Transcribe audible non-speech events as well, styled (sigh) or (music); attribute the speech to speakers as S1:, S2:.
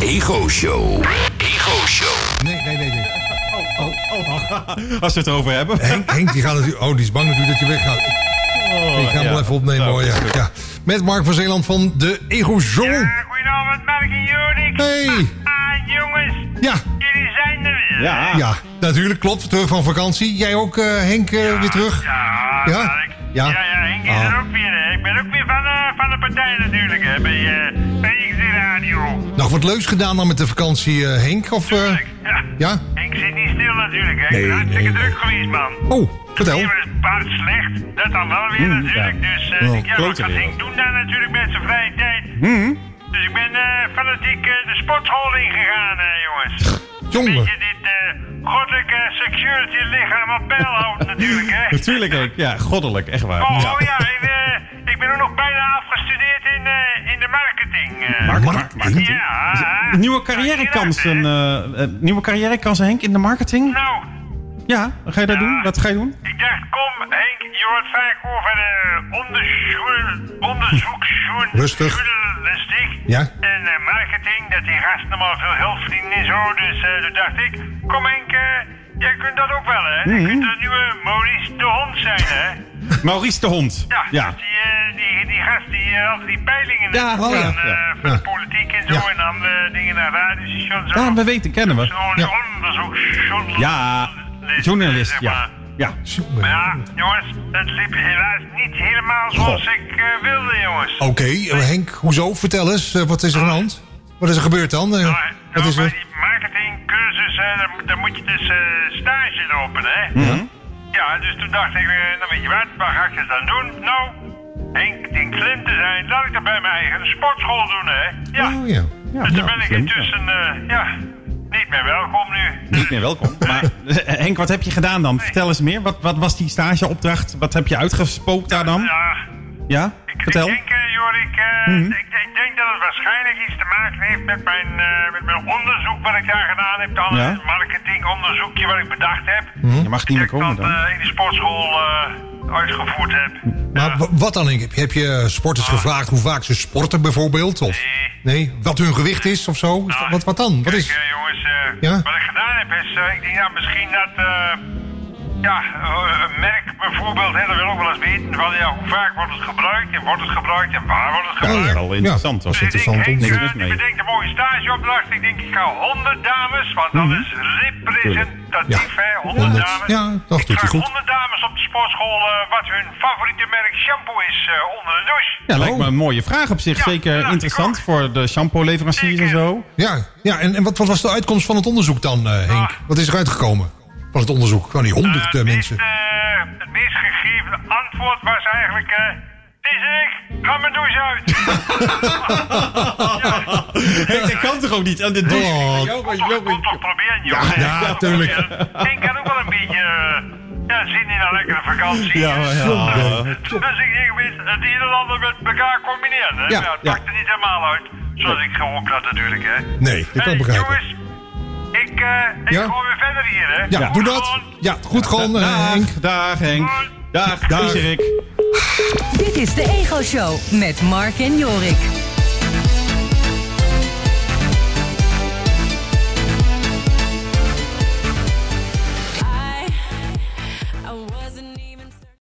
S1: Ego Show. Ego Show.
S2: Nee, nee, nee. nee.
S3: Als we het over hebben.
S2: Henk, Henk, die gaat natuurlijk... Oh, die is bang natuurlijk dat je weggaat. ik ga hem
S3: ja.
S2: wel even opnemen
S3: Nou,
S2: hoor. Ja. Ja. Met Mark van Zeeland van de Ego Show.
S4: Ja, goedenavond, Mark en Jorik.
S2: Hey!
S4: Ah, jongens,
S2: Ja,
S4: jullie zijn er weer.
S3: Ja.
S2: ja, natuurlijk klopt. Terug van vakantie. Jij ook, eh, Henk, eh, weer terug?
S4: Ja,
S2: Ja?
S4: Mark.
S2: Ja.
S4: Ja, ja, Henk is er
S2: Ah.
S4: ook weer. hè. Ik ben ook weer van de, van de partij natuurlijk, hè, bij, eh, bij XD Radio.
S2: Nog wat leuks gedaan dan met de vakantie, eh, Henk? Of, eh,
S4: Ja.
S2: ja?
S4: Henk zit niet stil natuurlijk, hè. Ik
S2: Nee,
S4: ben hartstikke
S2: nee, nee.
S4: druk geweest, man.
S2: Oh, vertel.
S4: Hier was het paard slecht. Dat dan wel weer natuurlijk. Dus eh,
S3: Oh,
S4: ik, ja, wat
S3: klote
S4: gaat
S3: wereld.
S4: Henk doen daar natuurlijk met zijn vrije tijd?
S2: Mhm.
S4: Dus ik ben eh, fanatiek eh, de sportschool ingegaan, eh, jongens. Weet
S2: Jongen.
S4: je dit eh, goddelijke security lichaam op peil houdt natuurlijk, hè?
S3: Natuurlijk, Henk. Ja, goddelijk. Echt waar.
S4: Oh,
S3: Ja.
S4: oh ja, en, eh, ik ben ook nog bijna afgestudeerd in, eh, in de marketing. eh.
S2: Marketing?
S4: Ja. Ah.
S3: Nieuwe carrièrekansen,
S4: Ja,
S3: eh, eh, nieuwe carrièrekansen, Henk, in de marketing?
S4: Nou,
S3: Ja, ga je dat
S4: Ja.
S3: doen? Dat ga je doen?
S4: ik dacht, kom Henk, je hoort vaak over eh onderzoek, onderzoeksjoen-
S2: Rustig.
S4: journalistiek
S2: Ja.
S4: en eh, marketing, dat die gasten allemaal veel hulp verdienen en zo. Dus eh, toen dacht ik, kom Henk, eh, jij kunt dat ook wel, hè? Je kunt de nieuwe Maurice de Hond zijn, hè?
S3: Maurice de Hond.
S4: Ja,
S3: Ja.
S4: dus die, eh, die, die gast die eh, altijd die peilingen
S3: Ja,
S4: doet
S3: oh ja,
S4: van, eh,
S3: ja,
S4: van
S2: ja.
S4: de politiek en zo
S2: Ja.
S4: en andere dingen naar Dus radiostations.
S3: Ja, we weten, kennen we.
S2: Ja.
S4: Zo'n onderzoeksjournalist.
S3: Ja, journalist,
S4: zeg
S3: ja.
S4: maar.
S3: Ja.
S2: Jongen.
S4: Maar ja, jongens, het liep helaas niet helemaal zoals
S3: Goh. Oh,
S4: ik eh, wilde, jongens.
S2: Oké, eh, Henk, hoezo? Vertel eens, eh, wat is er aan de hand? Wat is er gebeurd dan? Eh,
S4: Maar,
S2: wat
S4: nou,
S2: is
S4: bij
S2: er?
S4: die marketingcursus, eh, daar, moet- daar moet je dus eh, stage lopen, hè?
S3: Mhm.
S4: Ja, dus toen dacht ik, eh, nou weet je wat, waar ga ik het dan doen? Nou, Henk, ding slim te zijn, laat ik dat bij mijn eigen sportschool doen, hè? Ja.
S2: Oh, ja.
S3: Ja,
S4: dus
S3: ja,
S4: daar ben ik
S3: slim, ja.
S4: intussen, eh, ja, niet meer welkom nu.
S3: Niet meer welkom. Maar Henk, wat heb je gedaan dan? Vertel eens meer. Wat, wat was die stageopdracht? Wat heb je uitgespookt daar dan?
S4: Ja,
S3: Ja,
S4: ik, ik
S3: vertel. Mhm.
S4: denk, eh, Jorik, eh, ik, ik denk dat het waarschijnlijk iets te maken heeft met mijn, eh, met mijn onderzoek wat ik daar gedaan heb. Dan
S3: Ja.
S4: het marketingonderzoekje wat ik bedacht heb.
S3: Je mag niet meer
S4: dat ik
S3: komen
S4: dat
S3: dan.
S4: eh, in de sportschool eh, uitgevoerd heb.
S2: Maar wa- wat dan? Henk? Heb je- Heb je sporters gevraagd hoe vaak ze sporten bijvoorbeeld? Of, nee. Wat hun gewicht is of zo? Is dat- Wat, wat dan? Wat
S4: Kijk,
S2: is...
S4: eh, jongens, eh,
S2: Ja?
S4: wat ik gedaan heb is, eh, ik denk ja, misschien dat, eh, ja, eh, een merk bijvoorbeeld, hè, dat wil ook wel eens weten van, ja, hoe vaak wordt het gebruikt en wordt het gebruikt en waar wordt het
S2: Ja,
S4: gebruikt.
S2: ja.
S3: Wel interessant was
S4: Dus
S3: het.
S4: ik denk, Henk,
S3: Niks
S4: eh,
S3: mis
S4: die
S3: mee.
S4: bedenkt een mooie stageopdracht. Ik denk, ik ga 100 dames, want dat is representatief,
S2: Mhm. Ja.
S4: hè, 100
S2: Ja,
S4: dames.
S2: ja, dat
S4: ik
S2: doet hij
S4: vraag
S2: goed.
S4: 100 dames op de sportschool eh, wat hun favoriete merk shampoo is eh, onder de douche.
S3: Ja, oh. lijkt
S2: oh.
S3: me een mooie vraag op zich.
S4: Ja,
S3: Zeker
S4: ja, ik
S3: interessant
S4: ook.
S3: voor de shampoo-leveranciers en
S4: Zeker.
S3: (laughs) zo.
S2: Ja, ja en, en wat, wat was de uitkomst van het onderzoek dan, eh, Henk?
S4: Ah.
S2: Wat is er uitgekomen van het onderzoek? Van die
S4: Eh,
S2: honderd eh,
S4: het
S2: mensen.
S4: meest, eh, het meest gegeven antwoord was eigenlijk... eh, het is ik, ga mijn douche
S2: (laughs)
S4: uit.
S3: Henk, dat kan toch ook niet? Aan de douche.
S2: Oh.
S3: Jongen,
S4: Toch,
S3: jongen.
S4: Kom toch proberen, jongen.
S2: ja, tuurlijk.
S4: Ik had ook wel een beetje eh, ja, zin in een lekkere vakantie.
S3: Ja, maar ja.
S2: Zonde.
S4: Dus ik denk, weet, het een en ander met elkaar combineren. Hè?
S2: Ja,
S4: Ja, het
S3: ja.
S4: pakt er niet helemaal uit. Zoals ik gehoopt had natuurlijk, hè.
S2: Nee, dat kan
S4: Hey,
S2: ik begrijpen.
S4: jongens, ik, eh ik
S2: Ja?
S4: ga weer verder hier, hè.
S2: Ja,
S4: Goed
S2: doe dat.
S4: gewoon.
S2: Ja, goed gewoon, eh, Henk.
S3: Dag, dag Henk. Dag, dag.
S2: Dag.
S3: Erik.
S5: Dit is de Ego Show met Mark en Jorik.